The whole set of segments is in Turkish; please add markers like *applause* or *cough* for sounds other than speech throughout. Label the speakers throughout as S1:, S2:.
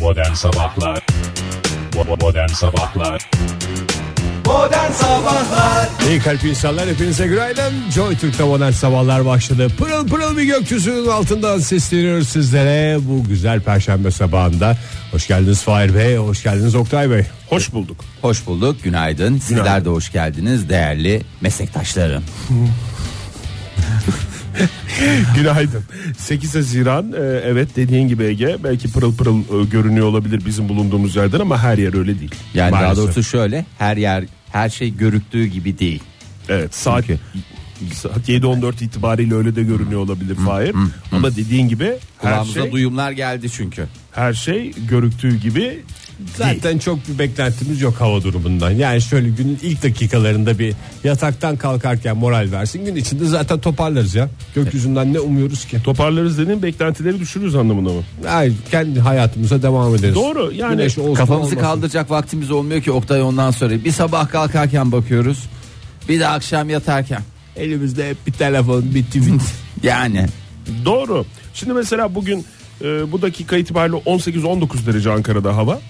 S1: Modern Sabahlar Bo- Modern Sabahlar
S2: Modern Sabahlar
S3: İyi kalp insanlar hepinize günaydın. Joy Türk'te modern sabahlar başladı. Pırıl pırıl bir gökyüzünün altından sesleniyoruz sizlere bu güzel perşembe sabahında. Hoş geldiniz Fahir Bey, hoş geldiniz Oktay Bey.
S4: Hoş bulduk.
S2: Hoş bulduk günaydın Sizler de hoş geldiniz değerli meslektaşlarım
S4: *laughs* Günaydın. 8 Haziran e, evet dediğin gibi Ege belki pırıl pırıl e, görünüyor olabilir bizim bulunduğumuz yerden ama her yer öyle değil.
S2: Yani
S4: Maalesef.
S2: daha doğrusu şöyle her yer her şey görüktüğü gibi değil
S4: Evet saat,
S2: Çünkü-
S4: saat 7.14 itibariyle öyle de görünüyor olabilir Fahir. Ama dediğin gibi her
S2: Kulağımıza
S4: şey,
S2: duyumlar geldi çünkü
S4: her şey görüktüğü gibi değil.
S3: Zaten çok bir beklentimiz yok hava durumundan. Yani şöyle günün ilk dakikalarında bir yataktan kalkarken moral versin. Gün içinde zaten toparlarız ya. Gökyüzünden ne umuyoruz ki?
S4: Toparlarız dediğin beklentileri düşürürüz anlamına mı?
S3: Hayır, kendi hayatımıza devam ederiz.
S4: Doğru, yani
S3: Güneş olsun,
S2: Kafamızı
S3: olmasın.
S2: kaldıracak vaktimiz olmuyor ki Oktay ondan sonra bir sabah kalkarken bakıyoruz bir de akşam yatarken
S3: Elimizde hep bir telefon, bir
S4: *laughs*
S3: tweet.
S2: yani
S4: Doğru. Şimdi mesela bugün e, bu dakika itibariyle 18-19 derece Ankara'da hava.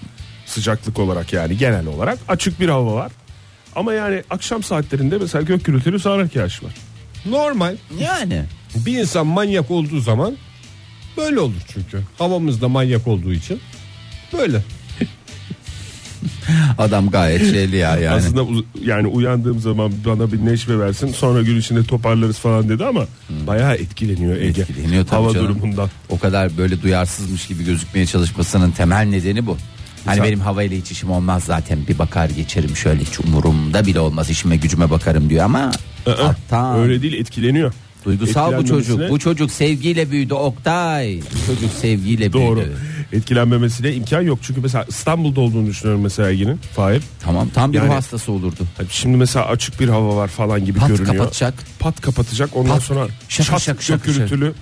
S4: Sıcaklık olarak yani genel olarak açık bir hava var. Ama yani akşam saatlerinde mesela gök gürültülü sağanak yağış var.
S3: Normal.
S2: yani
S3: Bir insan manyak olduğu zaman böyle olur çünkü. Havamız da manyak olduğu için böyle.
S2: adam gayet şeyli ya yani
S4: Aslında uz- yani uyandığım zaman bana bir neşve versin sonra gün içinde toparlarız falan dedi ama bayağı etkileniyor Ege.
S2: Etkileniyor tabii
S4: hava
S2: canım.
S4: durumundan.
S2: O kadar böyle duyarsızmış gibi gözükmeye çalışmasının temel nedeni bu. Hani
S4: Sen-
S2: benim havayla hiç işim olmaz zaten bir bakar geçerim şöyle hiç umurumda bile olmaz işime gücüme bakarım diyor ama hatta
S4: Ee, e, Öyle değil etkileniyor.
S2: duygusal bu çocuk
S4: Etkilenmemesine-
S2: bu çocuk sevgiyle büyüdü Oktay Bu çocuk sevgiyle
S4: Doğru.
S2: büyüdü
S4: Etkilenmemesine imkan yok. Çünkü mesela İstanbul'da olduğunu düşünüyorum mesela Ege'nin. Fahir.
S2: tamam tam bir
S4: Yani-
S2: ruh hastası olurdu
S4: Hani Şimdi mesela açık bir hava var falan gibi
S2: Pat
S4: görünüyor.
S2: kapatacak.
S4: Pat kapatacak. Ondan
S2: Pat.
S4: sonra
S2: Şakır şakır
S4: şak
S2: şakır
S4: şak
S2: şakır.
S4: gürültülü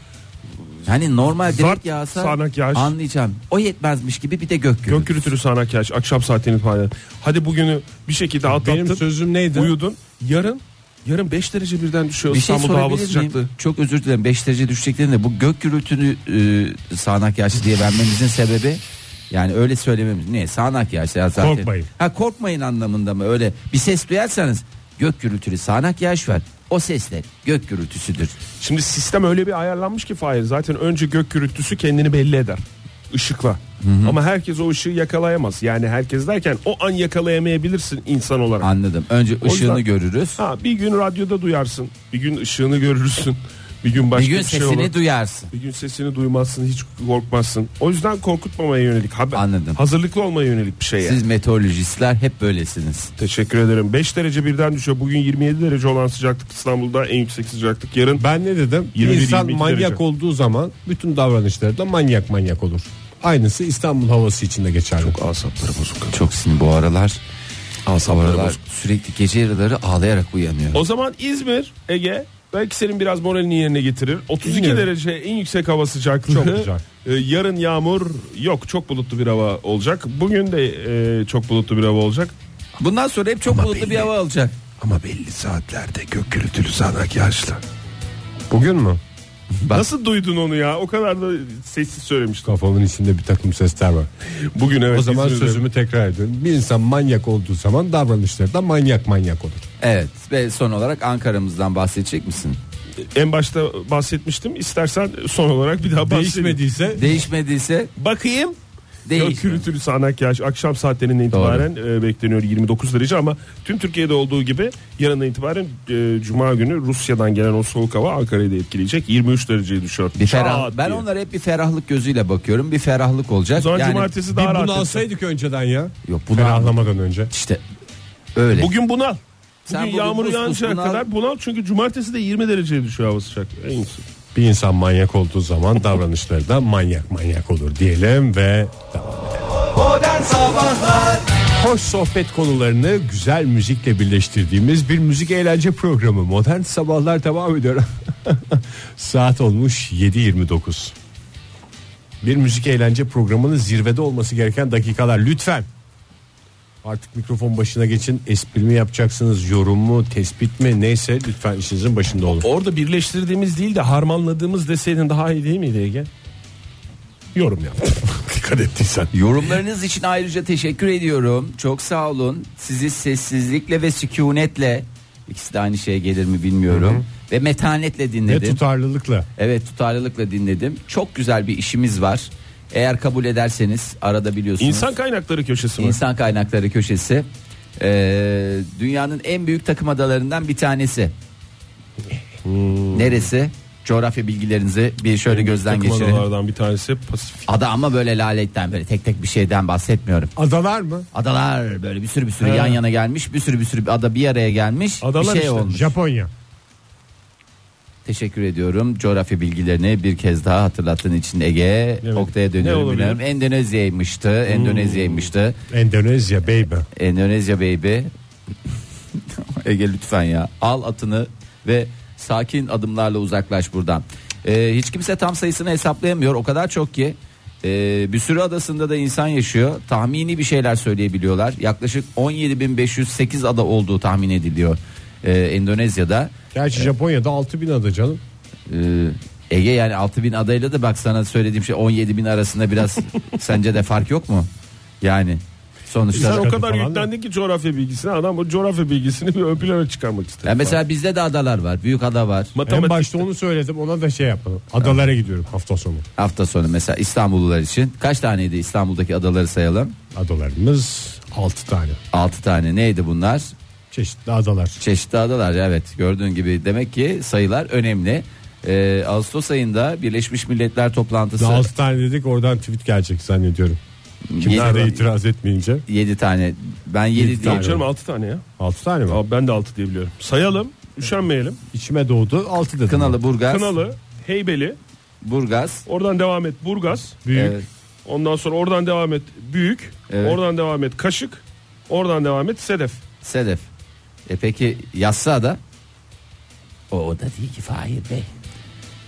S2: hani normal direkt
S4: Zart,
S2: yağsa
S4: sağanak yağış.
S2: anlayacağım o yetmezmiş gibi bir de gök gürültüsü
S4: gök gürültülü sağanak yağış akşam saatini falan. Hadi bugünü bir şekilde atlattın.
S3: Benim sözüm neydi?
S4: Uyudun. Yarın yarın 5 derece birden düşüyor
S2: Bir şey
S4: İstanbul'da hava
S2: sorabilir
S4: sıcaklığı.
S2: miyim? Çok özür dilerim 5 derece düşeceklerinde bu gök gürültünü e, sağanak yağışı diye vermemizin sebebi yani öyle söylememiz. Niye sağanak yağışı ya zaten.
S3: Korkmayın.
S2: Ha korkmayın anlamında mı öyle bir ses duyarsanız gök gürültülü sağanak yağış var. O sesler gök gürültüsüdür.
S4: Şimdi sistem öyle bir ayarlanmış ki Fahir. Zaten önce gök gürültüsü kendini belli eder. Işıkla. Ama herkes o ışığı yakalayamaz. Yani herkes derken o an yakalayamayabilirsin insan olarak.
S2: Anladım. Önce
S4: O
S2: ışığını
S4: yüzden-
S2: görürüz.
S4: Ha bir gün radyoda duyarsın. Bir gün ışığını görürsün. Bir gün başka
S2: Bir
S4: bir,
S2: gün
S4: şey
S2: sesini
S4: olur.
S2: duyarsın.
S4: bir gün sesini duymazsın, hiç korkmazsın. O yüzden korkutmamaya yönelik haber.
S2: Anladım.
S4: Hazırlıklı olmaya yönelik bir şey. yani.
S2: Siz meteorolojistler hep böylesiniz.
S4: Teşekkür ederim. 5 derece birden düşüyor. Bugün 27 derece olan sıcaklık İstanbul'da en yüksek sıcaklık yarın.
S3: Ben ne dedim?
S4: 21,
S3: İnsan
S4: 22
S3: manyak
S4: derece.
S3: olduğu zaman bütün davranışları da manyak manyak olur. Aynısı İstanbul havası içinde geçerli.
S4: Asapları bozuk.
S2: Çok sinir bu aralar.
S4: Asapları
S2: Aralar
S4: bozuk.
S2: sürekli gece yarıları ağlayarak uyanıyor.
S4: O zaman İzmir, Ege belki senin biraz moralini yerine getirir. 32
S3: Dinliyorum.
S4: derece en yüksek hava sıcaklığı.
S3: Çok güzel.
S4: *laughs* Ee, yarın yağmur yok. Çok bulutlu bir hava olacak. Bugün de e, çok bulutlu bir hava olacak.
S2: Bundan sonra hep çok bulutlu bir hava alacak.
S4: Ama belli saatlerde gök gürültülü sağanak yağışlı.
S3: Bugün mü?
S2: Bak.
S4: Nasıl duydun onu ya? O kadar da sessiz söylemiştim.
S3: Kafamın içinde bir takım sesler var.
S4: Bugün evet.
S3: o zaman
S4: İzmir'de-
S3: sözümü tekrar ediyorum. Bir insan manyak olduğu zaman davranışları da manyak manyak olur.
S2: Evet ve son olarak Ankara'mızdan bahsedecek misin?
S4: En başta bahsetmiştim. İstersen son olarak bir daha bahsedeyim.
S3: Değişmediyse
S2: Değişmediyse
S4: Bakayım. Gök
S2: değiş.
S4: gürültülü sağanak yağış akşam saatlerinden itibaren e, bekleniyor 29 derece ama tüm Türkiye'de olduğu gibi yarından itibaren e, Cuma günü Rusya'dan gelen o soğuk hava Ankara'yı da etkileyecek 23 dereceye düşüyor.
S2: Bir
S4: Çat
S2: ferah, ben
S4: diye.
S2: onlara hep bir ferahlık gözüyle bakıyorum. Bir ferahlık olacak.
S4: O zaman
S2: Yani
S4: cumartesi
S3: bir
S4: daha rahat.
S3: bunu
S4: edecek.
S3: alsaydık önceden ya.
S2: Yok, bunu
S3: Ferahlamadan önce.
S2: işte öyle.
S4: Bugün bunu al.
S2: Sen
S4: Bugün
S2: bugün
S4: yağmur
S2: pus pus
S4: yağıncaya
S2: bunal.
S4: kadar bunal çünkü cumartesi de 20 dereceye düşüyor hava sıcak. En iyisi.
S3: Bir insan manyak olduğu zaman davranışları da manyak manyak olur diyelim ve devam edelim.
S2: Modern Sabahlar
S3: Hoş sohbet konularını güzel müzikle birleştirdiğimiz bir müzik eğlence programı Modern Sabahlar devam ediyor. *laughs* Saat olmuş 7.29. Bir müzik eğlence programının zirvede olması gereken dakikalar lütfen. Artık mikrofon başına geçin. Espri mi yapacaksınız, yorum mu, tespit mi neyse lütfen işinizin başında olun.
S4: Orada birleştirdiğimiz değil de harmanladığımız deseydin daha iyi değil miydi Ege? Yorum yap. dikkat ettiysen.
S2: Yorumlarınız için ayrıca teşekkür ediyorum. Çok sağ olun. Sizi sessizlikle ve sükunetle ikisi de aynı şeye gelir mi bilmiyorum. Ve metanetle
S3: Ne
S2: dinledim.
S3: tutarlılıkla.
S2: evet tutarlılıkla dinledim. Çok güzel bir işimiz var. Eğer kabul ederseniz arada biliyorsunuz.
S4: İnsan kaynakları köşesi mi?
S2: İnsan kaynakları köşesi. Ee, dünyanın en büyük takım adalarından bir tanesi. Neresi? Coğrafya bilgilerinizi bir şöyle gözden
S4: Hmm. Takım
S2: geçirin.
S4: adalardan bir tanesi Pasifik.
S2: Ada ama böyle laletten böyle tek tek bir şeyden bahsetmiyorum.
S3: Adalar mı?
S2: Adalar böyle bir sürü bir sürü yan yana gelmiş. Bir sürü bir sürü bir ada bir araya gelmiş.
S4: Adalar
S2: bir şey
S4: işte.
S2: olmuş.
S3: Japonya.
S2: Teşekkür ediyorum. Coğrafya bilgilerini bir kez daha hatırlattığın için Ege. Oktay'a
S4: Ne
S2: dönüyorum.
S4: olabilir? Hmm.
S2: biliyorum. Endonezya'ymıştı. Endonezya'ymıştı.
S3: Endonezya baby.
S2: Endonezya baby. *laughs* Ege lütfen ya. Al atını ve sakin adımlarla uzaklaş buradan. Ee, hiç kimse tam sayısını hesaplayamıyor. O kadar çok ki. Ee, bir sürü adasında da insan yaşıyor. Tahmini bir şeyler söyleyebiliyorlar. Yaklaşık 17.508 ada olduğu tahmin ediliyor. Ee, Endonezya'da.
S3: Gerçi Japonya'da 6000 ada canım.
S2: Ee, Ege yani 6000 adayla da bak sana söylediğim şey 17000 arasında biraz sence de fark yok mu? Yani sonuçta.
S4: Sen o kadar
S3: falan da.
S4: yüklendin ki coğrafya bilgisine adam bu coğrafya bilgisini bir ön plana çıkarmak istedi.
S2: Ya mesela bizde de adalar var. Büyük ada var.
S4: Matematik-
S3: En başta onu söyledim ona da şey yapmadım. Adalara gidiyorum hafta sonu.
S2: Hafta sonu mesela İstanbullular için kaç taneydi İstanbul'daki adaları sayalım?
S3: Adalarımız 6 tane.
S2: 6 tane. Neydi bunlar?
S3: Çeşitli adalar.
S2: Çeşitli adalar evet gördüğün gibi demek ki sayılar önemli. Ee, Ağustos ayında Birleşmiş Milletler toplantısı
S3: Daha 6 tane dedik oradan tweet gelecek zannediyorum. Kimler de
S2: 7,
S3: itiraz etmeyince.
S2: tane. Ben 7
S3: Yedi
S2: diye.
S3: tane.
S4: Yok canım 6 tane ya.
S3: 6 tane mi?
S4: Abi ben de 6 diyebiliyorum. Sayalım, üşenmeyelim.
S3: İçime doğdu 6 dedim.
S2: Kınalı Burgaz.
S4: Kınalı, Heybeli,
S2: Burgaz.
S4: oradan devam et Burgaz.
S3: Büyük.
S2: Evet.
S4: Ondan sonra oradan devam et Büyük.
S2: Evet.
S4: Oradan devam et Kaşık. Oradan devam et Sedef.
S2: Sedef. E peki yassı ada? O, o da değil ki Fahir Bey.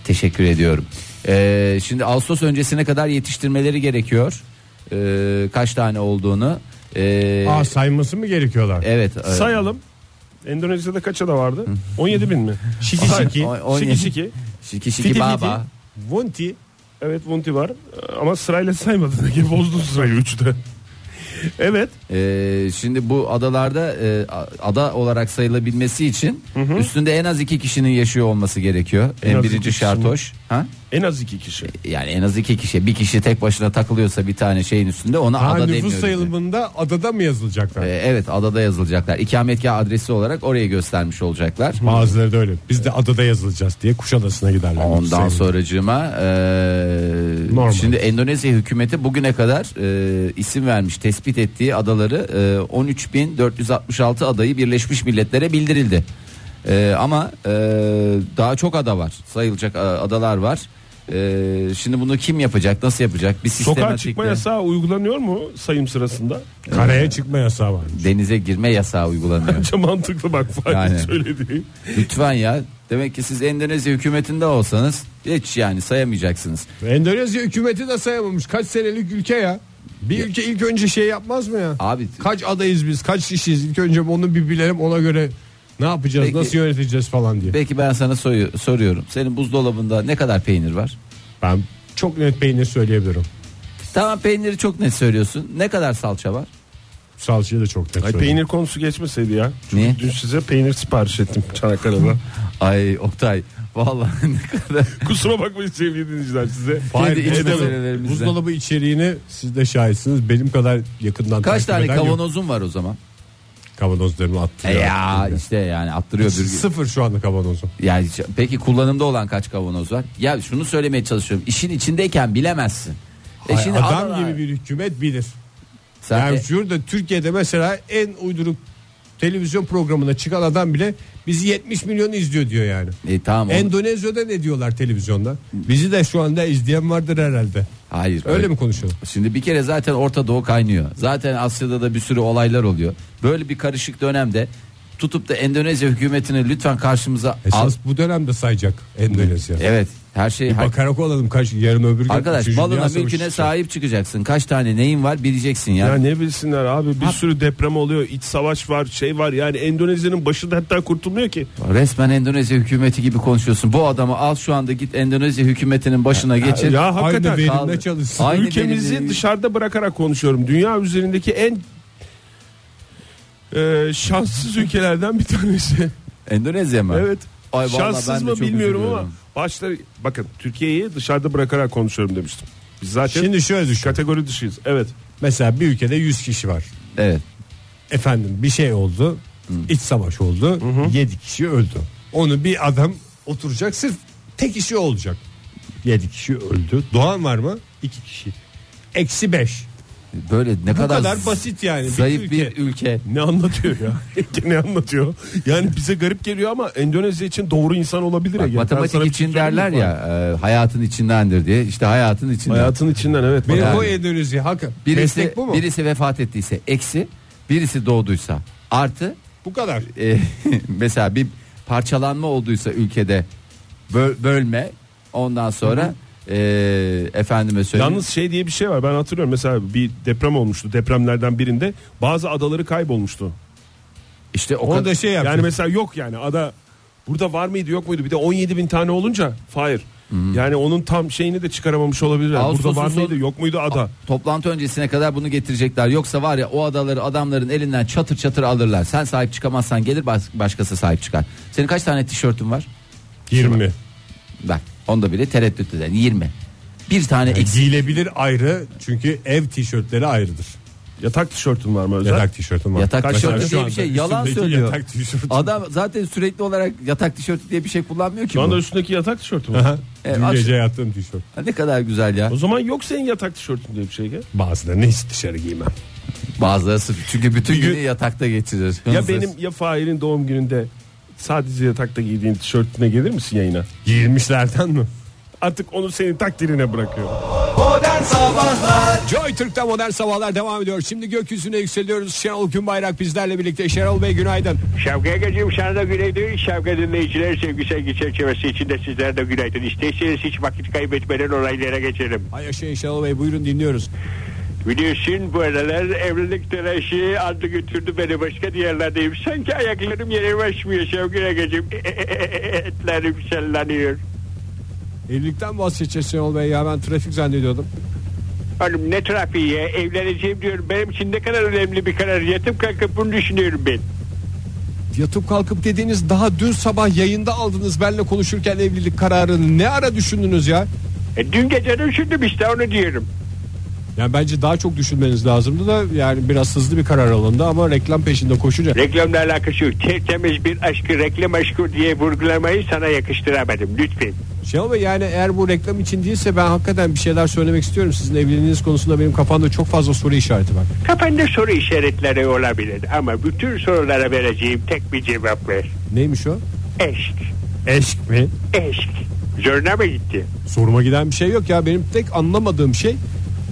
S2: Teşekkür ediyorum. Ee, şimdi Ağustos öncesine kadar yetiştirmeleri gerekiyor. Ee, kaç tane olduğunu. Ee,
S3: Aa sayması mı gerekiyorlar?
S2: evet. e,
S4: Sayalım. Endonezya'da kaç ada vardı? 17 bin mi?
S3: Şiki
S4: Say-
S3: şiki.
S2: On- on-
S4: Şiki şiki.
S2: Şiki şiki
S4: Fiti
S2: baba.
S4: fiti. Vunti. Evet Vunti var. Ama sırayla *laughs* saymadın. Ege bozdun sırayı 3'te. evet.
S2: Ee, şimdi bu adalarda e, a- ada olarak sayılabilmesi için üstünde en az iki kişinin yaşıyor olması gerekiyor.
S4: En
S2: En,
S4: az iki
S2: birinci
S4: kişi
S2: şart
S4: mi?
S2: hoş. Ha?
S4: En az iki kişi.
S2: Yani en az iki kişi. Bir kişi tek başına takılıyorsa bir tane şeyin üstünde ona
S3: Ha,
S2: ada
S3: nüfus
S2: demiyoruz.
S3: sayılımında adada mı yazılacaklar?
S2: Ee, evet adada yazılacaklar. İkametgah adresi olarak oraya göstermiş olacaklar.
S3: Bazıları da öyle. Biz de adada yazılacağız diye Kuşadası'na giderler. nüfus
S2: Ondan
S3: sayılımı.
S2: sonracığıma eee,
S3: Normal.
S2: şimdi Endonezya hükümeti bugüne kadar eee, isim vermiş tespit ettiği adaları e, eee, 13.466 adayı Birleşmiş Milletler'e bildirildi. Eee, ama eee, daha çok ada var sayılacak e, adalar var. Eee, şimdi bunu kim yapacak nasıl yapacak? Bir
S4: Sokağa
S2: sistematikle
S4: çıkma yasağı uygulanıyor mu sayım sırasında?
S3: Karaya çıkma yasağı var.
S2: denize girme yasağı *laughs* uygulanıyor.
S4: Bence mantıklı bak Fatih *laughs*
S2: Yani.
S4: söylediğin.
S2: Lütfen ya demek ki siz Endonezya hükümetinde olsanız hiç yani sayamayacaksınız.
S3: Endonezya hükümeti de sayamamış. Kaç senelik ülke ya? Bir ülke ilk önce şey yapmaz mı ya?
S2: Abi
S3: Kaç adayız biz? Kaç kişiyiz? İlk önce onu bir bilelim ona göre ne yapacağız?
S2: Peki.
S3: Nasıl yöneteceğiz falan diye.
S2: Peki ben sana soyu- soruyorum. Senin buzdolabında ne kadar peynir var?
S3: Ben çok net peynir söyleyebilirim.
S2: Tamam peyniri çok net söylüyorsun. Ne kadar salça var?
S3: Salçayı da çok net
S4: Ay
S3: söylüyorum.
S4: peynir konusu geçmeseydi ya. Çünkü
S2: Niye?
S4: dün size peynir sipariş ettim Çanakkale'den.
S2: Ay Oktay vallahi ne kadar.
S4: *laughs* Kusura bakmayın sevgili dinleyiciler size.
S3: Hayır,
S2: Kendi iç
S3: buzdolabı-
S2: meselelerimizden.
S3: Buzdolabı içeriğini siz de şahitsiniz. Benim kadar yakından
S2: Kaç
S3: takip
S2: tane
S3: eden yok.
S2: kavanozun var o zaman?
S3: Kavanozlarımı
S2: E
S3: attırıyor.
S2: ya işte yani attırıyor bir gün.
S3: Sıfır şu anda kavanozum.
S2: Yani hiç- peki kullanımda olan kaç kavanoz var? Ya şunu söylemeye çalışıyorum. İşin içindeyken bilemezsin. E
S3: Ay,
S2: şimdi
S3: adam
S2: adalar-
S3: gibi bir hükümet bilir.
S2: Sen de-
S3: yani şurada Türkiye'de mesela en uyduruk televizyon programına çıkan adam bile bizi 70 milyon izliyor diyor yani.
S2: E, tamam. onu-
S3: Endonezya'da ne diyorlar televizyonda? Bizi de şu anda izleyen vardır herhalde.
S2: Hayır.
S3: Öyle mi konuşalım?
S2: Şimdi bir kere zaten Orta Doğu kaynıyor. Zaten Asya'da da bir sürü olaylar oluyor. Böyle bir karışık dönemde tutup da Endonezya hükümetini lütfen karşımıza al.
S3: Esas bu dönemde sayacak Endonezya.
S2: Evet her şey
S3: Bir bakarak olalım kaç yarın öbür gün.
S2: arkadaş
S3: Üçüncü Dünya
S2: malına
S3: Savaşı
S2: mülküne
S3: çıkacak.
S2: sahip çıkacaksın. Kaç tane neyin var bileceksin ya.
S4: Ya ne bilsinler abi bir sürü deprem oluyor, iç savaş var, şey var. Yani Endonezya'nın başı da hatta kurtulmuyor ki.
S2: Resmen Endonezya hükümeti gibi konuşuyorsun. Bu adamı al şu anda git Endonezya hükümetinin başına geçir.
S4: Ya hakikaten
S3: Aynı verimle
S2: Kaldı.
S3: çalışsın.
S2: Aynı
S4: ülkemizi
S2: benim-
S4: dışarıda bırakarak konuşuyorum. Dünya üzerindeki en e, şanssız ülkelerden
S2: *laughs*
S4: bir tanesi.
S2: Endonezya mı?
S4: evet.
S2: Ay vallahi ben
S4: şanssız
S2: de
S4: mı
S2: çok
S4: bilmiyorum ama
S2: üzülüyorum.
S4: başları bakın Türkiye'yi dışarıda bırakarak konuşuyorum demiştim. Biz zaten
S3: Şimdi şöyle düşün.
S4: kategori dışıyız. Evet.
S3: Mesela bir ülkede 100 kişi var.
S2: Evet.
S3: Efendim bir şey oldu. iç savaş oldu. 7 kişi öldü. Onu bir adam oturacak sırf tek işi olacak. 7 kişi öldü. Doğan var mı? 2 kişi. Eksi 5.
S2: Böyle ne
S3: Bu kadar,
S2: kadar,
S3: basit yani.
S2: Zayıf bir ülke.
S4: Ne anlatıyor
S2: *laughs*
S4: ya? Ege ne anlatıyor? Yani bize garip geliyor ama Endonezya için doğru insan olabilir.
S2: Bak,
S4: Ege. Ben sana
S2: matematik
S4: bir
S2: için
S4: şey söyleyeyim
S2: derler
S4: mi?
S2: ya e, hayatın içindendir diye. İşte hayatın içinden.
S4: Hayatın içinden evet.
S3: Benim
S2: Yani-
S3: o Endonezya hakkı.
S2: birisi,
S3: Meslek bu mu?
S2: birisi vefat ettiyse eksi, birisi doğduysa artı.
S3: Bu kadar.
S2: E, *laughs* mesela bir parçalanma olduysa ülkede böl- bölme ondan sonra e, efendime söyleyeyim.
S4: Yalnız şey diye bir şey var ben hatırlıyorum mesela bir deprem olmuştu depremlerden birinde bazı adaları kaybolmuştu.
S2: işte o
S3: Onu
S2: kadar
S3: da şey yapıyor.
S4: Yani mesela yok yani ada burada var mıydı yok muydu bir de 17 bin tane olunca hayır. Yani onun tam şeyini de çıkaramamış olabilirler.
S2: Ağustos'un
S4: burada var
S2: son-
S4: mıydı yok muydu ada.
S2: toplantı öncesine kadar bunu getirecekler. Yoksa var ya o adaları adamların elinden çatır çatır alırlar. Sen sahip çıkamazsan gelir bas- başkası sahip çıkar. Senin kaç tane tişörtün var?
S3: 20.
S2: Bak onda bile tereddüt eden 20. Bir tane
S3: Yani
S2: eksik.
S3: giyilebilir ayrı çünkü ev tişörtleri ayrıdır.
S4: Yatak tişörtün var mı özel?
S3: Yatak tişörtüm var.
S2: Yatak
S3: Kaç
S2: tişörtü
S3: tane?
S2: diye
S3: Şu
S2: bir şey,
S3: anda
S2: yalan
S3: üstümdeki
S2: söylüyor.
S3: Yatak tişörtüm.
S2: Adam zaten sürekli olarak yatak tişörtü diye bir şey kullanmıyor ki.
S4: Şu anda
S2: bu.
S4: üstündeki yatak tişörtün var.
S3: Aha,
S2: Evet,
S3: Dün
S2: akşam-
S3: gece yattığım tişört.
S2: Ha, Ne kadar güzel ya.
S4: o zaman yok senin yatak tişörtün diye bir şey. Ege.
S3: Bazılarını hiç dışarı giymem.
S2: Bazıları sırf- çünkü bütün günü yatakta geçirir.
S4: Ya benim ya Fahir'in doğum gününde sadece yatakta giydiğin tişörtüne gelir misin yayına?
S3: Giyilmişlerden mi?
S4: Artık onu senin takdirine bırakıyor.
S3: Joy Türk'te modern sabahlar devam ediyor. Şimdi gökyüzüne yükseliyoruz. Şenol Günbayrak bizlerle birlikte. Şenol Bey günaydın.
S5: Şevket Ege'cim sana da günaydın. Şevket dinleyiciler sevgi saygı çerçevesi içinde sizlere de günaydın. İsterseniz hiç vakit kaybetmeden olaylara geçelim.
S3: Hay yaşayın Şenol Bey buyurun dinliyoruz.
S5: Biliyorsun bu aralar evlilik telaşı aldı götürdü beni başka diyarlardayım. Sanki ayaklarım yere başmıyor Şevket Ege'cim. e, Etlerim sallanıyor.
S3: Evlilikten bahsedeceğiz Şenol Bey ya ben trafik zannediyordum.
S5: Oğlum ne trafiği ya evleneceğim diyorum. Benim için ne kadar önemli bir karar. Yatıp kalkıp bunu düşünüyorum ben.
S3: Yatıp kalkıp dediğiniz daha dün sabah yayında aldınız benle konuşurken evlilik kararını ne ara düşündünüz ya?
S5: E, dün gece de düşündüm işte onu diyorum.
S3: Yani bence daha çok düşünmeniz lazımdı da yani biraz hızlı bir karar alındı ama reklam peşinde koşunca.
S5: Reklamla alakası yok. Tertemiz bir aşkı reklam aşkı diye vurgulamayı sana yakıştıramadım. Lütfen.
S3: Şenol Bey yani eğer bu reklam için değilse ben hakikaten bir şeyler söylemek istiyorum. Sizin evliliğiniz konusunda benim kafamda çok fazla soru işareti var.
S5: Kafanda soru işaretleri olabilir ama bütün sorulara vereceğim tek bir cevap var.
S3: Neymiş o?
S5: Eşk.
S3: Eşk mi?
S5: Eşk. Zoruna mı gitti?
S3: Soruma giden bir şey yok ya. Benim tek anlamadığım şey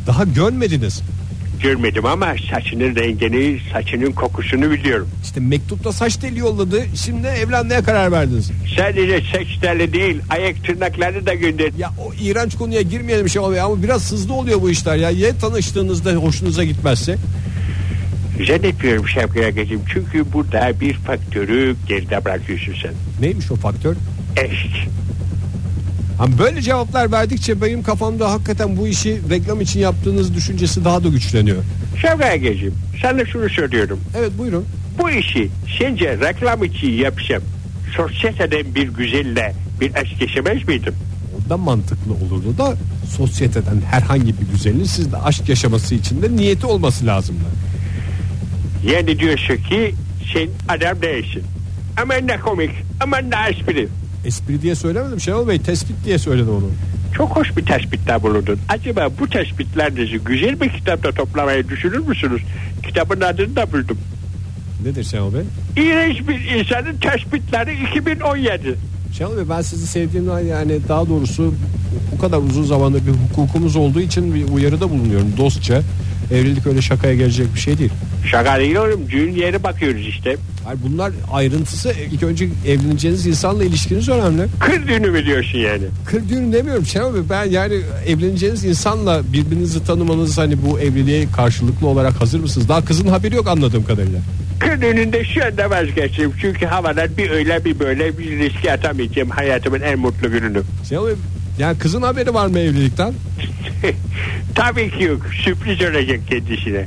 S3: daha görmediniz.
S5: Görmedim ama saçının rengini, saçının kokusunu biliyorum.
S3: İşte mektupta saç teli yolladı. Şimdi evlenmeye karar verdiniz.
S5: Sadece saç teli değil, ayak tırnakları da gönder.
S3: Ya o iğrenç konuya girmeyelim şey Bey ama biraz hızlı oluyor bu işler ya. Ya tanıştığınızda hoşunuza gitmezse?
S5: Zannetmiyorum Şevket Akacığım çünkü burada bir faktörü geride bırakıyorsun sen.
S3: Neymiş o faktör?
S5: Eşk.
S3: Hani böyle cevaplar verdikçe benim kafamda hakikaten bu işi reklam için yaptığınız düşüncesi daha da güçleniyor.
S5: Şevket Akacığım sana şunu söylüyorum.
S3: Evet buyurun.
S5: Bu işi sence reklam için yapsam sosyeteden bir güzelle bir aşk yaşamaz mıydım?
S3: Orada mantıklı olurdu da sosyeteden herhangi bir güzelin sizde aşk yaşaması için de niyeti olması lazımdı.
S5: Yani diyorsun ki sen adam değilsin. Aman ne komik, aman ne espri.
S3: Espri diye söylemedim Şenol Bey tespit diye söyledim onu.
S5: Çok hoş bir tespitte bulundun. Acaba bu tespitlerinizi güzel bir kitapta toplamayı düşünür müsünüz? Kitabın adını da buldum.
S3: Nedir Şenol Bey?
S5: İğrenç bir insanın tespitleri 2017.
S3: Şenol Bey ben sizi sevdiğimden yani daha doğrusu bu kadar uzun zamandır bir hukukumuz olduğu için bir uyarıda bulunuyorum dostça. Evlilik öyle şakaya gelecek bir şey değil.
S5: Şaka değil oğlum. Düğün yeri bakıyoruz işte.
S3: Hayır, bunlar ayrıntısı ilk önce evleneceğiniz insanla ilişkiniz önemli.
S5: Kır düğünü mü diyorsun yani?
S3: Kır düğünü demiyorum Şenol Bey. Ben yani evleneceğiniz insanla birbirinizi tanımanız hani bu evliliğe karşılıklı olarak hazır mısınız? Daha kızın haberi yok anladığım kadarıyla.
S5: Kır düğününde şu anda vazgeçtim. Çünkü havalar bir öyle bir böyle bir riske atamayacağım hayatımın en mutlu gününü. *laughs*
S3: Şenol Bey yani kızın haberi var mı evlilikten?
S5: Tabii ki yok. Sürpriz olacak kendisine.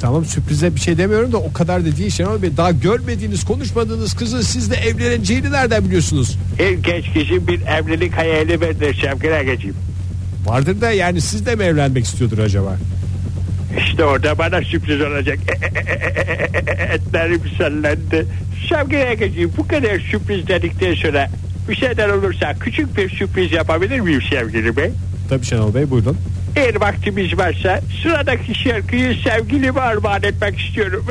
S3: Tamam sürprize bir şey demiyorum da o kadar da değil Şenol Bey. Daha görmediğiniz konuşmadığınız kızın sizle evleneceğini nereden biliyorsunuz?
S5: Her genç kişi bir evlilik hayali vardır Şevket Agacığım.
S3: Vardır da yani siz de mi evlenmek istiyordur acaba?
S5: İşte orada bana sürpriz olacak. *laughs* Etlerim sallandı. Şevket Agacığım bu kadar sürpriz dedikten sonra bir şeyler olursa küçük bir sürpriz yapabilir miyim sevgili bey?
S3: Tabii Şenol Bey buyurun.
S5: Eğer vaktimiz varsa sıradaki şarkıyı sevgilime armağan etmek istiyorum.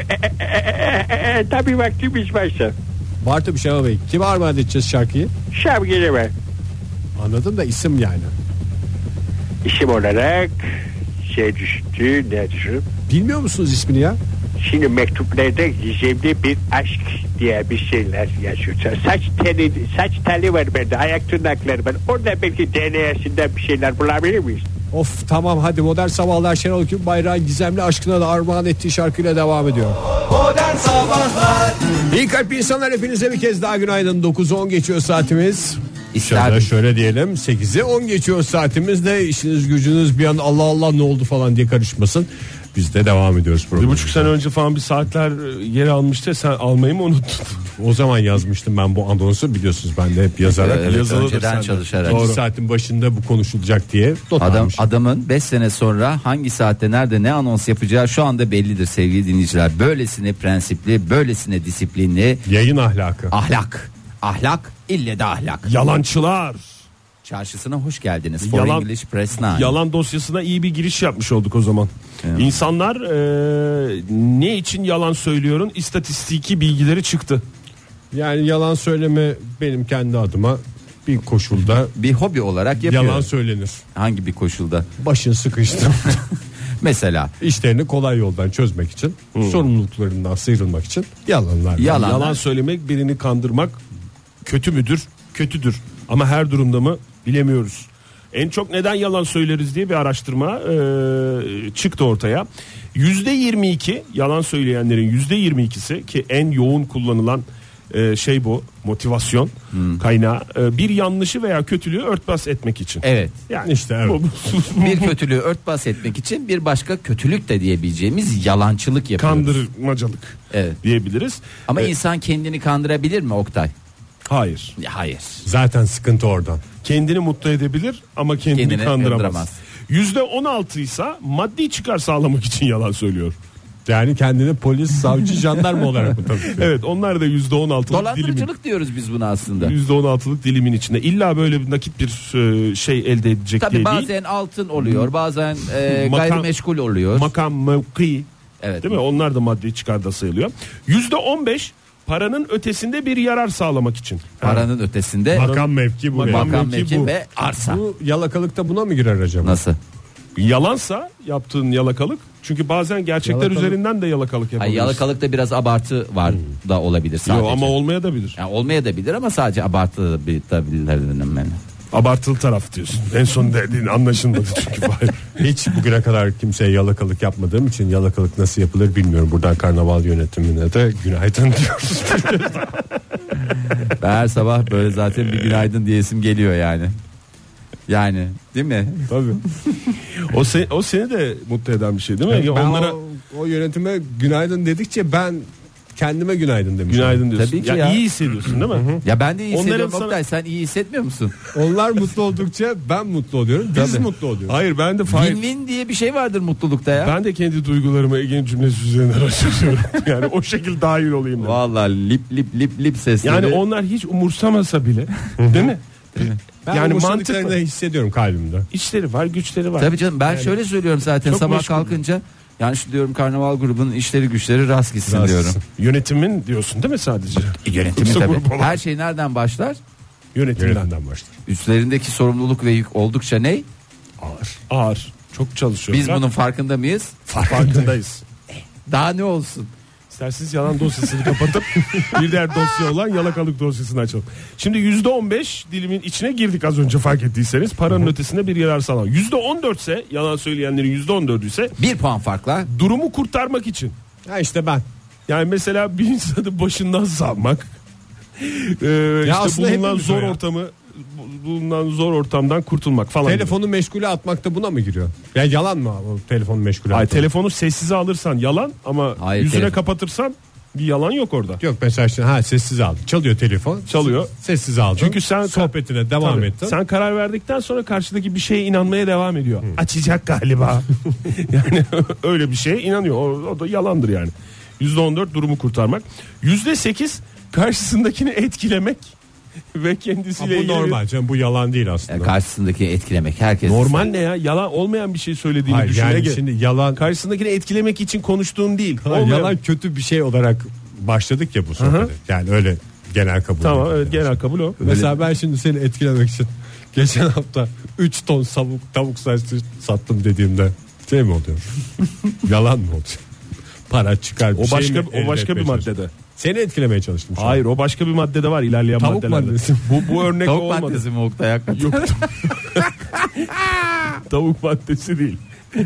S5: E, Tabii vaktimiz varsa.
S3: Var tabii Şenol Bey. Kime armağan edeceğiz şarkıyı?
S5: Sevgilime.
S3: Anladım da isim yani.
S5: İşim olarak şey düştü ne düştü?
S3: Bilmiyor musunuz ismini ya?
S5: Şimdi mektuplarda gizemli bir aşk diye bir şeyler yazıyor. Saç teli, saç teli var bende, ayak tırnakları var. Orada belki DNA'sında bir şeyler bulabilir miyiz?
S3: Of tamam hadi modern sabahlar Şenol Gün bayrağın gizemli aşkına da armağan ettiği şarkıyla devam ediyor. İyi kalp insanlar hepinize bir kez daha günaydın. 9-10 geçiyor saatimiz.
S2: İster
S3: Şöyle, şöyle diyelim 8'e 10 geçiyor saatimiz de işiniz gücünüz bir an Allah Allah ne oldu falan diye karışmasın. Biz de devam ediyoruz
S4: Bir
S3: programı.
S4: buçuk sene önce falan bir saatler e, yeri almıştı. Sen almayı mı
S3: *laughs*
S4: unuttun?
S3: O zaman yazmıştım ben bu anonsu biliyorsunuz ben de hep yazarak.
S2: Evet,
S4: yazılıdır
S2: önceden
S4: sende.
S2: çalışarak.
S3: İkinci saatin başında bu konuşulacak diye not
S2: Adam,
S3: almışım.
S2: adamın 5 sene sonra hangi saatte nerede ne anons yapacağı şu anda bellidir sevgili dinleyiciler. Böylesine prensipli, böylesine disiplinli
S3: Yayın ahlakı.
S2: ahlak. Ahlak ille de ahlak.
S4: Yalançılar.
S2: Çarşısına hoş geldiniz. For
S4: Yalan-
S2: English Press Nine.
S4: Yalan dosyasına iyi bir giriş yapmış olduk o zaman. İnsanlar e, ne için yalan söylüyorum? İstatistiki bilgileri çıktı.
S3: Yani yalan söyleme benim kendi adıma bir koşulda
S2: Bir hobi olarak yapıyor.
S3: yalan söylenir.
S2: Hangi bir koşulda?
S3: Başın sıkıştı.
S2: Mesela
S3: *laughs* İşlerini kolay yoldan çözmek için, sorumluluklarından sıyrılmak için
S2: Yalan.
S3: yalanlar.
S2: Yalanlar.
S4: Yalan söylemek, birini kandırmak kötü müdür? Kötüdür. Ama her durumda mı bilemiyoruz. En çok neden yalan söyleriz diye bir araştırma e, çıktı ortaya. %22 yalan söyleyenlerin %22'si ki en yoğun kullanılan e, şey bu motivasyon
S2: Hmm.
S4: kaynağı e, bir yanlışı veya kötülüğü örtbas etmek için.
S2: evet.
S4: Yani
S3: İşte evet.
S4: bu- *laughs* bu- bu-
S2: Bir kötülüğü örtbas etmek için bir başka kötülük de diyebileceğimiz yalancılık yapıyoruz.
S4: kandırmacalık
S2: Evet.
S4: diyebiliriz.
S2: Ama
S4: E,
S2: insan kendini kandırabilir mi Oktay?
S4: hayır.
S2: Ya Hayır.
S3: Zaten sıkıntı oradan.
S4: kendini mutlu edebilir ama kendini,
S2: Kendini
S4: kandıramaz.
S2: kandıramaz.
S4: Yüzde 16 ise maddi çıkar sağlamak için yalan söylüyor.
S3: Yani kendini polis, savcı, jandarma olarak mı tanıtıyor?
S4: Evet onlar da yüzde 16'lık dilimin.
S2: Dolandırıcılık diyoruz biz buna aslında.
S4: %16'lık dilimin içinde illa böyle bir nakit bir e, şey elde edecek
S2: Tabii
S4: diye
S2: bazen
S4: değil.
S2: altın oluyor, bazen e,
S4: Makam-
S2: gayrimeşgul oluyor.
S4: Makam mevki
S2: Evet.
S4: değil mi? Onlar da maddi çıkarda sayılıyor. Yüzde 15 paranın ötesinde bir yarar sağlamak için.
S2: Paranın ötesinde
S3: Makam mevki bu.
S4: Makam-
S2: makam
S4: mevki
S2: mevki
S4: bu.
S2: ve arsa.
S3: Bu yalakalıkta buna mı girer acaba?
S2: Nasıl?
S4: Yalansa yaptığın yalakalık çünkü bazen gerçekler
S3: Yalakalık.
S4: üzerinden de yalakalık
S2: Ay,
S4: yapabilirsin.
S2: yalakalıkta biraz abartı var da olabilir sadece.
S4: Hmm. Yo, ama olmaya da bilir.
S2: Yani olmaya da bilir ama sadece abartı da bir- da bilirlerim ben.
S4: Abartılı taraf diyorsun. En son
S2: *laughs*
S4: dediğin anlaşılmadı çünkü. Fahir.
S3: Hiç bugüne kadar kimseye yalakalık yapmadığım için yalakalık nasıl yapılır bilmiyorum. Buradan karnaval yönetimine de günaydın *laughs* diyoruz.
S2: Ben Her sabah böyle zaten bir günaydın diyesim geliyor yani. Yani değil mi?
S3: Tabii.
S4: O, se- o seni de mutlu eden bir şey değil mi?
S3: Ben
S4: Ya onlara
S3: o, o yönetime günaydın dedikçe ben kendime günaydın demişim.
S4: günaydın diyorsun.
S2: Tabii ki
S4: ya,
S2: ya.
S4: iyi hissediyorsun değil mi?
S2: Ya ben de iyi
S4: Onların
S2: hissediyorum
S4: sana-
S2: Oktay sen iyi hissetmiyor musun?
S3: Onlar mutlu oldukça ben mutlu oluyorum. Biz
S2: Tabii.
S3: mutlu oluyoruz.
S4: Hayır ben de Fahir-
S2: Win-win diye bir şey vardır mutlulukta ya.
S4: Ben de kendi duygularımı Ege'nin cümlesi üzerinden *laughs* araştırıyorum. yani o şekil dahil olayım. dedim.
S2: Vallahi lip lip lip lip sesleri.
S4: Yani onlar hiç umursamasa bile değil mi?
S3: Ben
S4: yani
S3: yani
S4: mantıklı.
S3: hissediyorum kalbimde.
S4: İçleri var, güçleri var.
S2: Tabii canım ben şöyle söylüyorum zaten
S4: çok
S2: sabah
S4: meşgul.
S2: kalkınca. Yani şu diyorum karnaval grubunun işleri güçleri rast gitsin
S3: Rast
S4: *laughs*
S2: diyorum.
S3: gitsin.
S4: Yönetimin diyorsun değil mi sadece?
S2: Yönetimi
S4: Yoksa
S2: E, tabii.
S4: grup olarak.
S2: Her şey nereden başlar?
S4: Yönetimden.
S3: Yönetimden başlar.
S2: Üstlerindeki sorumluluk ve yük oldukça ne?
S4: Ağır. Çok çalışıyorlar.
S2: Biz bunun farkında mıyız?
S4: farkındayız.
S2: Daha ne olsun?
S4: İsterseniz yalan dosyasını kapatıp *laughs* bir diğer dosya olan yalakalık dosyasını açalım. Şimdi %15 dilimin içine girdik az önce fark ettiyseniz. Paranın ötesinde bir yarar sağlam. %14 ise yalan söyleyenlerin %14'ü ise
S2: Bir puan farkla
S4: durumu kurtarmak için.
S3: Ha işte ben.
S4: Yani mesela bir insanı başından savmak. Ee, işte
S3: aslında
S4: bulunan
S3: hepimiz
S4: zor
S3: o ya.
S4: ortamı bu- bulunan zor ortamdan kurtulmak falan. gibi.
S3: Telefonu meşgule atmak da buna mı giriyor? Ya yalan mı o telefonu meşgule
S4: Ay
S3: atmak?
S4: telefonu sessize alırsan yalan ama
S2: Hayır,
S4: yüzüne
S2: telefon.
S4: kapatırsan bir yalan yok orada.
S3: Yok mesela işte ha sessiz aldı. Çalıyor telefon.
S4: Çalıyor.
S3: Sessiz aldı.
S4: Çünkü sen
S3: sohbetine devam
S4: Tabii.
S3: ettin.
S4: Sen karar verdikten sonra karşıdaki bir şeye inanmaya devam ediyor. Açacak galiba. *laughs* yani *laughs* öyle bir şeye inanıyor. O, o da yalandır yani. %14 durumu kurtarmak. %8 karşısındakini etkilemek *laughs* ve
S3: Ha,
S4: kendisiyle
S3: bu
S4: ilgili-
S3: normal canım bu yalan değil aslında.
S2: e, karşısındaki etkilemek herkes.
S4: Normal ne ya? Yalan olmayan bir şey söylediğini
S3: Hayır,
S4: düşünerek.
S3: yani şimdi yalan
S4: Karşısındakini etkilemek için konuştuğun değil.
S3: Hayır,
S4: Olmayan-
S3: yalan kötü bir şey olarak başladık ya bu sohbete. Yani öyle genel kabul.
S4: Tamam
S3: edildi.
S4: evet genel kabul o.
S3: Mesela ben şimdi seni etkilemek için geçen hafta 3 ton savuk, tavuk saçlı sattım dediğimde şey mi
S4: *laughs*
S3: oluyor? Yalan mı oluyor? Para çıkar. bir
S4: O
S3: şey
S4: başka
S3: mi
S4: o
S3: elde
S4: başka bir
S3: etmeye çalıştım?
S4: maddede.
S3: Seni etkilemeye çalıştım. şu an.
S4: Hayır o başka bir maddede var ilerleyen
S3: Tavuk
S4: maddelerde.
S3: maddesi.
S4: Bu bu örnek
S2: Tavuk
S4: olmadı.
S2: maddesi mi Oktay hakikaten?
S4: Yok. Tavuk maddesi değil.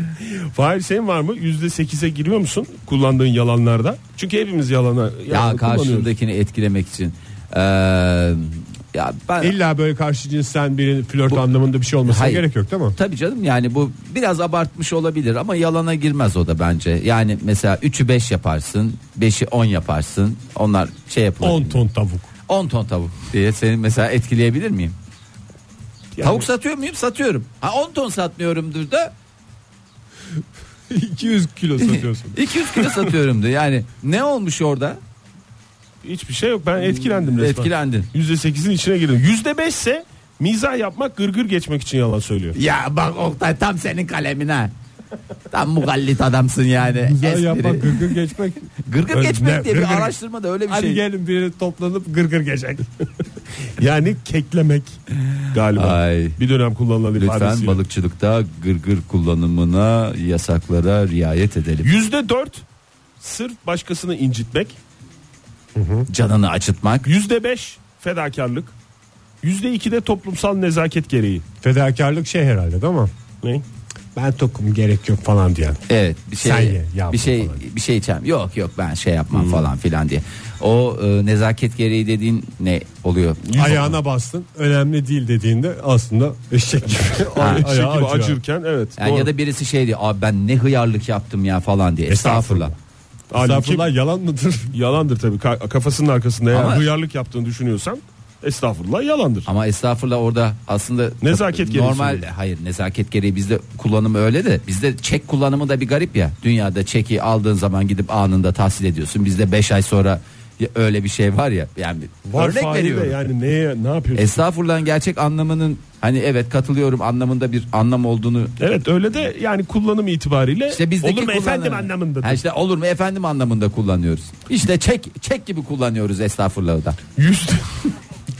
S4: *laughs* Fahir şey senin var mı? Yüzde sekize giriyor musun kullandığın yalanlarda? Çünkü hepimiz yalana
S2: Ya
S4: *laughs* yalanı kullanıyoruz.
S2: karşındakini etkilemek için. Ee, ya ben
S3: İlla böyle karşı cinsten birinin flört anlamında bir şey olmasına
S2: Hayır.
S3: gerek yok değil mi?
S2: Tabii canım yani bu biraz abartmış olabilir ama yalana girmez o da bence. Yani mesela 3'ü 5 yaparsın, 5'i 10 yaparsın. Onlar şey yapılır.
S3: 10 ton tavuk.
S2: 10 ton tavuk diye seni mesela etkileyebilir miyim?
S4: Yani-
S2: Tavuk satıyor muyum? Satıyorum. Ha 10 ton satmıyorumdur da
S3: 200 kilo *laughs* satıyorsun.
S2: 200 kilo satıyorumdur. Yani ne olmuş orada?
S4: Hiçbir şey yok. Ben etkilendim resmen.
S2: Etkilendin.
S4: Yüzde sekizin içine girdim. Yüzde beşse mizah yapmak gırgır geçmek için yalan söylüyor.
S2: Ya bak Oktay tam senin kalemine. Tam mugallit adamsın yani.
S3: Güzel
S2: Espri.
S3: yapmak gırgır geçmek.
S2: Gırgır
S3: Öyle-
S2: geçmek
S3: ne-
S2: diye
S3: gırgır-
S2: bir araştırmada öyle bir
S3: Hadi
S2: şey.
S3: gelin biri toplanıp gırgır
S4: *laughs*
S3: geçek. yani keklemek.
S4: Galiba.
S2: Ay.
S4: Bir dönem kullanılan
S2: Lütfen
S4: ifadesiyle.
S2: balıkçılıkta gırgır kullanımına yasaklara riayet edelim.
S4: Yüzde dört sırf başkasını incitmek.
S2: Canını acıtmak.
S4: Yüzde beş fedakarlık. Yüzde iki de toplumsal nezaket gereği.
S3: Fedakarlık şey herhalde değil mi?
S4: Ne?
S3: Ben tokum gerek yok falan diyen.
S2: Evet bir şey
S3: Sen ye, yavrum
S2: bir şey
S3: falan. Hmm.
S2: bir şey içerim. Yok yok ben şey yapmam falan filan diye. O e, nezaket gereği dediğin ne oluyor?
S3: Ayağına bastın önemli değil dediğinde aslında eşek gibi.
S2: Ha.
S3: Ay-
S4: Şey gibi
S3: *laughs* ayağı acıyor.
S4: acırken evet.
S2: Yani
S4: doğru.
S2: ya da birisi şey diyor. Abi ben ne hıyarlık yaptım ya falan diye. Estağfurullah.
S4: Halbuki
S3: Estağfurullah yalan mıdır?
S4: *laughs* Yalandır tabii Ka- kafasının arkasında eğer
S2: Ama-
S4: duyarlılık yaptığını düşünüyorsan estağfurullah yalandır.
S2: Ama estağfurullah orada aslında
S4: Nezaket gereği
S2: normal
S4: söylüyor.
S2: hayır nezaket gereği bizde kullanımı öyle de bizde çek kullanımı da bir garip ya. Dünyada çeki aldığın zaman gidip anında tahsil ediyorsun. Bizde 5 ay sonra ya- öyle bir şey var ya. Yani
S4: Var
S2: örnek
S4: faili de
S2: veriyorum.
S4: Yani neye ne yapıyorsun?
S2: Estağfurullah'ın gerçek anlamının hani evet katılıyorum anlamında bir anlam olduğunu
S4: evet öyle de yani kullanım itibariyle
S2: işte E- bizdeki
S4: olur mu
S2: kullanım-
S4: efendim anlamında.
S2: Ha işte olur mu efendim anlamında kullanıyoruz. İşte çek çek gibi kullanıyoruz estağfurullahı da.
S4: Yüzde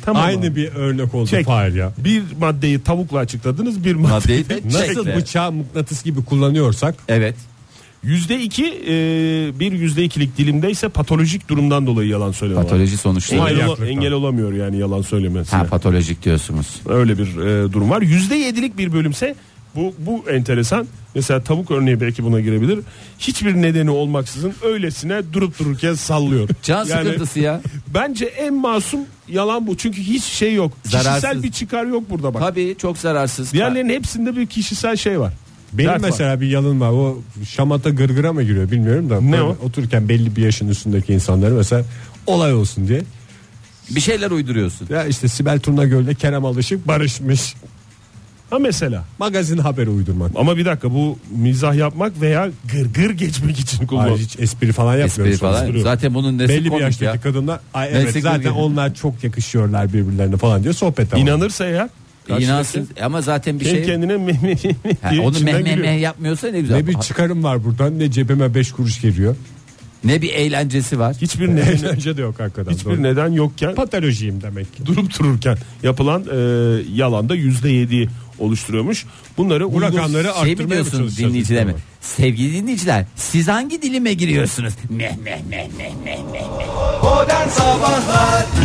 S4: tamam.
S3: Aynı
S4: abi.
S3: bir örnek oldu
S4: Çek.
S3: Fahir ya.
S4: bir maddeyi tavukla açıkladınız bir maddeyi
S2: Maddeyi de
S3: Nasıl
S2: Çekle.
S3: bıçağı mıknatıs gibi kullanıyorsak
S2: Evet.
S4: yüzde iki e, bir yüzde ikilik dilimde ise patolojik durumdan dolayı yalan söyleme. var.
S2: Patoloji sonuçları.
S4: Ona engel,
S3: Manyaklıktan.
S4: engel olamıyor yani yalan söylemesine.
S2: Ha patolojik diyorsunuz.
S4: Öyle bir e, durum var. Yüzde yedilik bir bölümse bu bu enteresan. Mesela tavuk örneği belki buna girebilir. Hiçbir nedeni olmaksızın öylesine durup dururken sallıyor.
S2: *laughs* Can
S4: Yani
S2: sıkıntısı ya.
S4: Bence en masum yalan bu. Çünkü hiç şey yok. Kişisel
S2: Zararsız.
S4: bir çıkar yok burada bak.
S2: Tabii çok zararsız.
S4: Diğerlerinin hepsinde bir kişisel şey var.
S3: benim
S4: Dert var.
S3: mesela bir yalın var. O şamata gırgıra mı giriyor bilmiyorum da. Böyle
S4: o?
S3: Otururken belli bir yaşın üstündeki insanları mesela olay olsun diye.
S2: Bir şeyler uyduruyorsun.
S3: Ya işte Sibel Turna Göl'de Kerem Alışık barışmış.
S4: Ha mesela.
S3: Magazin haberi uydurmak.
S4: Ama bir dakika bu mizah yapmak veya gırgır geçmek için kullan.
S3: Hayır, hiç espri falan yapmıyoruz.
S2: Espri falan.
S3: Espri yok.
S2: Zaten bunun nesi
S3: belli bir
S2: komik ya.
S3: yaştaki kadınlar ay
S2: Nesi
S3: evet
S2: komik
S3: zaten
S2: ya?"
S3: onlar çok yakışıyorlar birbirlerine falan diyor sohbet devam.
S4: İnanırsa eğer karşıdaki
S2: İnansın ama zaten bir
S4: kendi
S2: şey.
S4: kendine meh meh meh
S2: Ha,
S4: diye
S2: onu
S4: içinden
S2: meh meh
S4: gülüyor.
S2: meh yapmıyorsa ne güzel.
S3: ne bir çıkarım var buradan ne cebime 5 kuruş geliyor.
S2: ne bir eğlencesi var.
S3: *laughs*
S4: Hiçbir nedeni
S3: Eğlence de yok hakikaten.
S4: Hiçbir neden yokken *laughs*
S3: Patolojiyim demek ki.
S4: durup dururken yapılan e, yalanda yüzde yedi oluşturuyormuş. Bunları
S3: Rakamları
S2: şey mi
S3: arttırmaya mı
S2: diyorsun
S3: çalışacağız
S2: dinleyicilere mi?
S3: biz
S2: Sevgili dinleyiciler siz hangi dilime giriyorsunuz? Meh meh meh meh meh meh.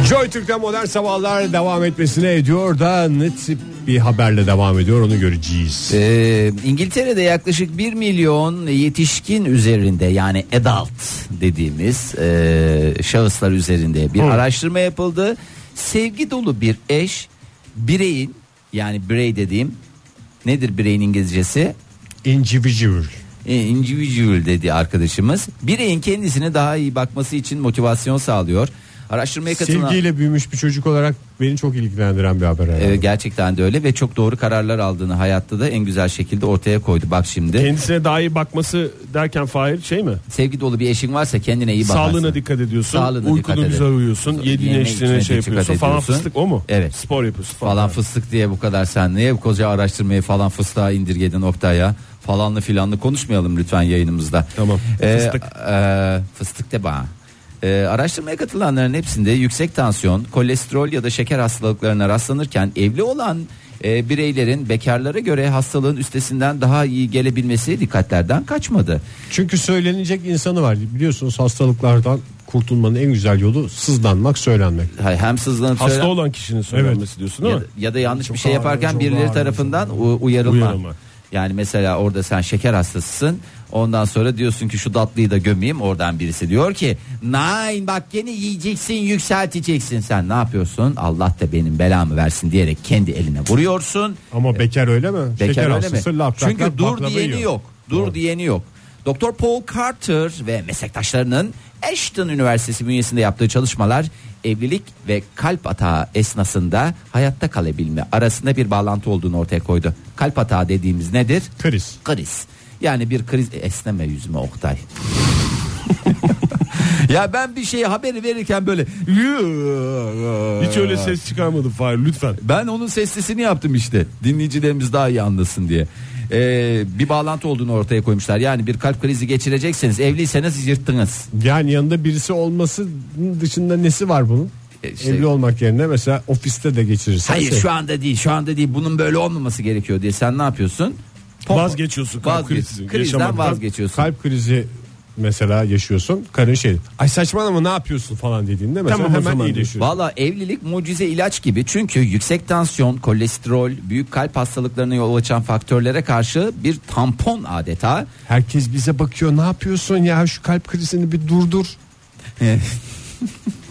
S3: Joy Türk'te modern sabahlar devam etmesine ediyor da ne tip bir haberle devam ediyor onu göreceğiz.
S2: Ee, İngiltere'de yaklaşık 1 milyon yetişkin üzerinde yani adult dediğimiz e, şahıslar üzerinde bir araştırma yapıldı. Sevgi dolu bir eş bireyin yani birey dediğim nedir bireyin İngilizcesi?
S3: Individual.
S2: E, individual dedi arkadaşımız. Bireyin kendisine daha iyi bakması için motivasyon sağlıyor. Araştırmaya katılan...
S3: Sevgiyle büyümüş bir çocuk olarak beni çok ilgilendiren bir haber. herhalde.
S2: Ee, gerçekten de öyle ve çok doğru kararlar aldığını hayatta da en güzel şekilde ortaya koydu. Bak şimdi
S4: kendisine daha iyi bakması derken Fahir şey mi?
S2: sevgi dolu bir eşin varsa kendine iyi bakarsın.
S4: Sağlığına dikkat ediyorsun.
S2: Sağlığına dikkat
S4: uykunu
S2: edelim.
S4: güzel uyuyorsun. Yediğine
S2: Yeme, içmene
S4: içtiğine şey
S2: dikkat
S4: yapıyorsun falan
S2: ediyorsun.
S4: fıstık o mu?
S2: Evet.
S4: Spor yapıyorsun falan.
S2: Falan fıstık diye bu kadar sen niye bu koca araştırmayı falan fıstığa indirgedin Oktay'a? Falanlı filanlı konuşmayalım lütfen yayınımızda.
S4: Tamam.
S2: Ee,
S4: Fıstık.
S2: e, fıstık de bana. Ee, araştırmaya katılanların hepsinde yüksek tansiyon, kolesterol ya da şeker hastalıklarına rastlanırken evli olan e, bireylerin bekarlara göre hastalığın üstesinden daha iyi gelebilmesi dikkatlerden kaçmadı.
S3: Çünkü söylenecek insanı var. Biliyorsunuz hastalıklardan kurtulmanın en güzel yolu sızlanmak, söylenmek.
S2: Ha- Hem sızlanıp
S4: Hasta
S2: söylen-
S4: olan kişinin söylenmesi diyorsun değil
S2: ya,
S4: mi?
S2: da, ya da yanlış
S3: Çok
S2: bir şey
S3: ağır,
S2: yaparken
S3: çok
S2: birileri
S3: ağır
S2: tarafından u- uyarılma.
S4: Uyarılma.
S2: Yani mesela orada sen şeker hastasısın. Ondan sonra diyorsun ki şu tatlıyı da gömeyim. Oradan birisi diyor ki nein bak gene yiyeceksin yükselteceksin. Sen ne yapıyorsun? Allah da benim belamı versin diyerek kendi eline vuruyorsun.
S3: Ama bekar öyle mi?
S2: Bekar
S3: Şeker
S2: öyle
S3: hastası
S2: mi?
S3: lap lap
S2: Çünkü
S3: lap
S2: dur
S3: baklava
S2: diyeni
S3: yiyor.
S2: yok. Dur diyeni yok. Doktor Paul Carter ve meslektaşlarının Ashton Üniversitesi bünyesinde yaptığı çalışmalar evlilik ve kalp atağı esnasında hayatta kalabilme arasında bir bağlantı olduğunu ortaya koydu. Kalp atağı dediğimiz nedir?
S3: Kriz.
S2: Kriz. Yani bir kriz e, esneme yüzüme
S3: *laughs*
S2: Oktay. *laughs* ya ben bir şey haberi verirken böyle
S4: Hiç öyle ses çıkarmadım Fahir lütfen.
S2: ben onun seslisini yaptım işte. Dinleyicilerimiz daha iyi anlasın diye. Ee, bir bağlantı olduğunu ortaya koymuşlar. Yani bir kalp krizi geçirecekseniz evliyseniz yırttınız.
S3: Yani yanında birisi olması dışında nesi var bunun?
S2: E işte-
S3: Evli olmak yerine mesela ofiste de geçirirsen.
S2: Hayır
S3: şey-
S2: şu anda değil şu anda değil bunun böyle olmaması gerekiyor diye sen ne yapıyorsun? Pop-
S4: Vazgeçiyorsun kalp
S2: Vazge-
S4: krizi
S2: Krizden
S4: yaşamaktan.
S2: vazgeçiyorsun.
S3: Kalp krizi mesela yaşıyorsun. Karın şey. Ay saçmalama ne yapıyorsun falan dediğinde mesela
S4: Tamam o
S3: hemen
S4: zaman
S3: iyileşiyorsun.
S2: Valla evlilik mucize ilaç gibi çünkü yüksek tansiyon, kolesterol, büyük kalp hastalıklarına yol açan faktörlere karşı bir tampon *laughs* adeta.
S3: Herkes bize bakıyor. Ne yapıyorsun ya şu kalp krizini bir durdur.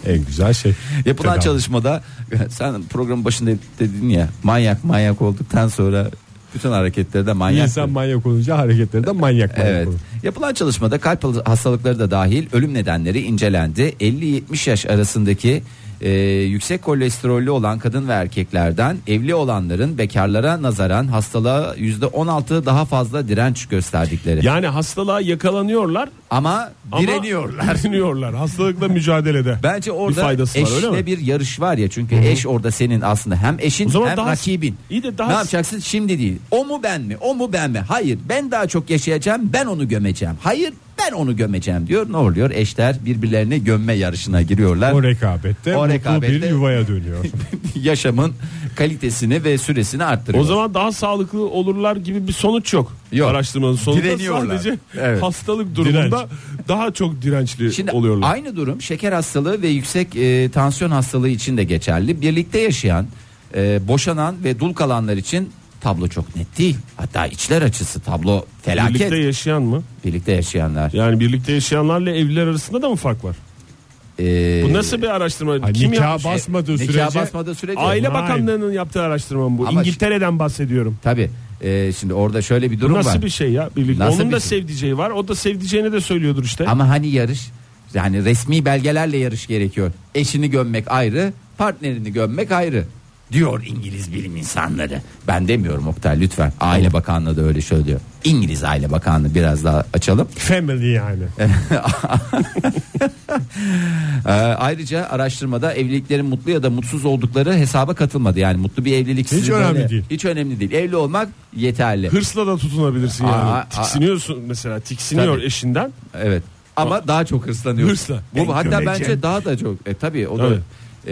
S3: en güzel şey.
S2: Yapılan
S3: Tedavi.
S2: çalışmada *laughs* sen programın başında dedin ya manyak manyak olduktan sonra bütün hareketleri de manyak.
S3: İnsan manyak olunca hareketleri de manyak manyak
S2: Evet.
S3: olur.
S2: Yapılan çalışmada kalp hastalıkları da dahil ölüm nedenleri incelendi. 50-70 yaş arasındaki e, yüksek kolesterollü olan kadın ve erkeklerden evli olanların bekarlara nazaran hastalığa %16 daha fazla direnç gösterdikleri.
S4: Yani hastalığa yakalanıyorlar
S2: Ama
S4: ama
S2: direniyorlar.
S4: direniyorlar. Hastalıkla mücadelede.
S2: Bence
S4: bir
S2: orada
S4: faydası var öyle mi?
S2: eşle bir yarış var ya çünkü eş orada senin aslında hem eşin
S4: O zaman
S2: hem
S4: daha-
S2: rakibin.
S4: İyi de daha-
S2: ne yapacaksın şimdi değil. O mu ben mi? O mu ben mi? Hayır ben daha çok yaşayacağım ben onu gömeceğim. Hayır ben onu gömeceğim diyor. Ne oluyor? Eşler birbirlerini gömme yarışına giriyorlar.
S3: O rekabette
S2: O
S3: mutlu bir
S2: rekabette-
S3: yuvaya dönüyor.
S2: *laughs* Yaşamın kalitesini ve süresini arttırıyor.
S4: O zaman daha sağlıklı olurlar gibi bir sonuç yok.
S2: Yok.
S4: Araştırmanın sonunda
S2: Direniyorlar.
S4: sadece
S2: Evet.
S4: hastalık durumunda daha çok dirençli
S2: Şimdi
S4: oluyorlar.
S2: aynı durum şeker hastalığı ve yüksek e, tansiyon hastalığı için de geçerli. Birlikte yaşayan, e, boşanan ve dul kalanlar için tablo çok net değil. Hatta içler açısı tablo felaket.
S4: Birlikte
S2: Birlikte,
S4: yaşayan mı?
S2: yaşayanlar.
S4: Yani birlikte yaşayanlarla evliler arasında da mı fark var?
S2: E,
S4: Bu nasıl bir araştırma?
S3: Ay,
S4: Kim
S3: Hani nikah
S4: yapmış?
S3: basmadığı
S2: nikah
S3: sürece
S2: basmadığı sürece.
S4: Aile
S3: Vay.
S4: Bakanlığı'nın yaptığı araştırma mı bu.
S2: Ama
S4: İngiltere'den bahsediyorum.
S2: Tabii. E, şimdi orada şöyle bir
S4: Bu
S2: durum
S4: nasıl
S2: var.
S4: bir şey ya? Birlikte.
S2: Nasıl
S4: Onun
S2: bir
S4: da
S2: şey?
S4: sevdiceği var. O da sevdiceğini de söylüyordur işte.
S2: Ama hani yarış yani resmi belgelerle yarış gerekiyor. Eşini gömmek ayrı, partnerini gömmek ayrı diyor İngiliz bilim insanları. Ben demiyorum Oktay lütfen. Aile Bakanlığı da öyle söylüyor. İngiliz Aile Bakanlığı biraz daha açalım.
S3: family yani.
S2: Ee, ayrıca araştırmada evliliklerin mutlu ya da mutsuz oldukları hesaba katılmadı. Yani mutlu bir evlilik
S3: Hiç
S2: sizi
S3: önemli değil.
S2: Hiç önemli değil. Evli olmak yeterli.
S4: Hırsla da tutunabilirsin yani.
S2: Aa, aa.
S4: Tiksiniyorsun mesela. Tiksiniyor
S2: Tabii.
S4: eşinden.
S2: Evet. Ama daha çok hırslanıyor.
S4: Hırsla.
S2: Bu
S4: En
S2: hatta
S4: kömeci.
S2: bence daha da çok. E tabii o da.
S4: Tabii.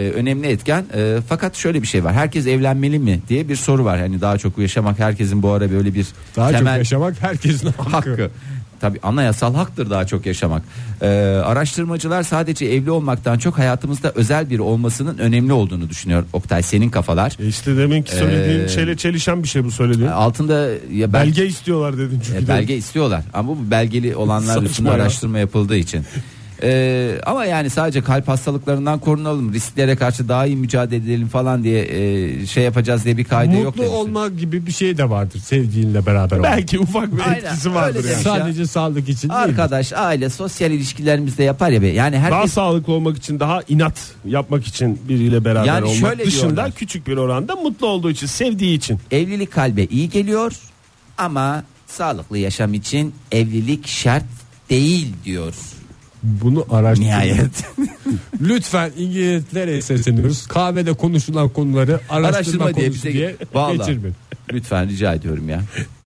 S2: e, önemli etken. E, fakat şöyle bir şey var. Herkes evlenmeli mi diye bir soru var. Hani daha çok yaşamak herkesin bu ara böyle bir
S3: Daha çok
S2: temel
S3: yaşamak herkesin hakkı.
S2: *laughs* hakkı. Tabii anayasal haktır daha çok yaşamak. Ee, araştırmacılar sadece evli olmaktan çok hayatımızda özel biri olmasının önemli olduğunu düşünüyor. Oktay senin kafalar. E,
S4: E İşte deminki söylediğin şeyle çelişen bir şey bu söylediğin.
S2: Altında ya Ee. ben,
S4: belge istiyorlar dedin çünkü.
S2: e, belge istiyorlar ama bu belgeli olanlar
S4: Saçma
S2: üstünde
S4: ya.
S2: araştırma yapıldığı için. Ee, ama yani sadece kalp hastalıklarından korunalım, risklere karşı daha iyi mücadele edelim falan diye e, şey yapacağız diye bir kaide yok.
S3: Mutlu
S2: demişler.
S3: olma gibi bir şey de vardır sevgilinle beraber olmak.
S4: Belki ufak bir
S2: Aynen,
S4: etkisi vardır
S2: öyle
S4: yani.
S2: demiş.
S3: Sadece sağlık için değil.
S2: Arkadaş, aile, sosyal ilişkilerimizde yapar ya be. Yani
S4: Daha
S2: herkes
S4: sağlıklı olmak için daha inat yapmak için biriyle beraber
S2: Yani
S4: olmak
S2: şöyle
S4: dışında
S2: diyorlar.
S4: küçük bir oranda mutlu olduğu için sevdiği için.
S2: evlilik kalbe iyi geliyor ama sağlıklı yaşam için evlilik şart değil diyor
S3: Bunu araştırın.
S2: nihayet.
S3: Lütfen İngilizlere sesleniyoruz. Kahvede konuşulan konuları araştırma,
S2: Araştırma diye
S3: konusu
S2: bize
S3: diye,
S2: Vallahi.
S3: geçirmeyin.
S2: Lütfen rica ediyorum ya.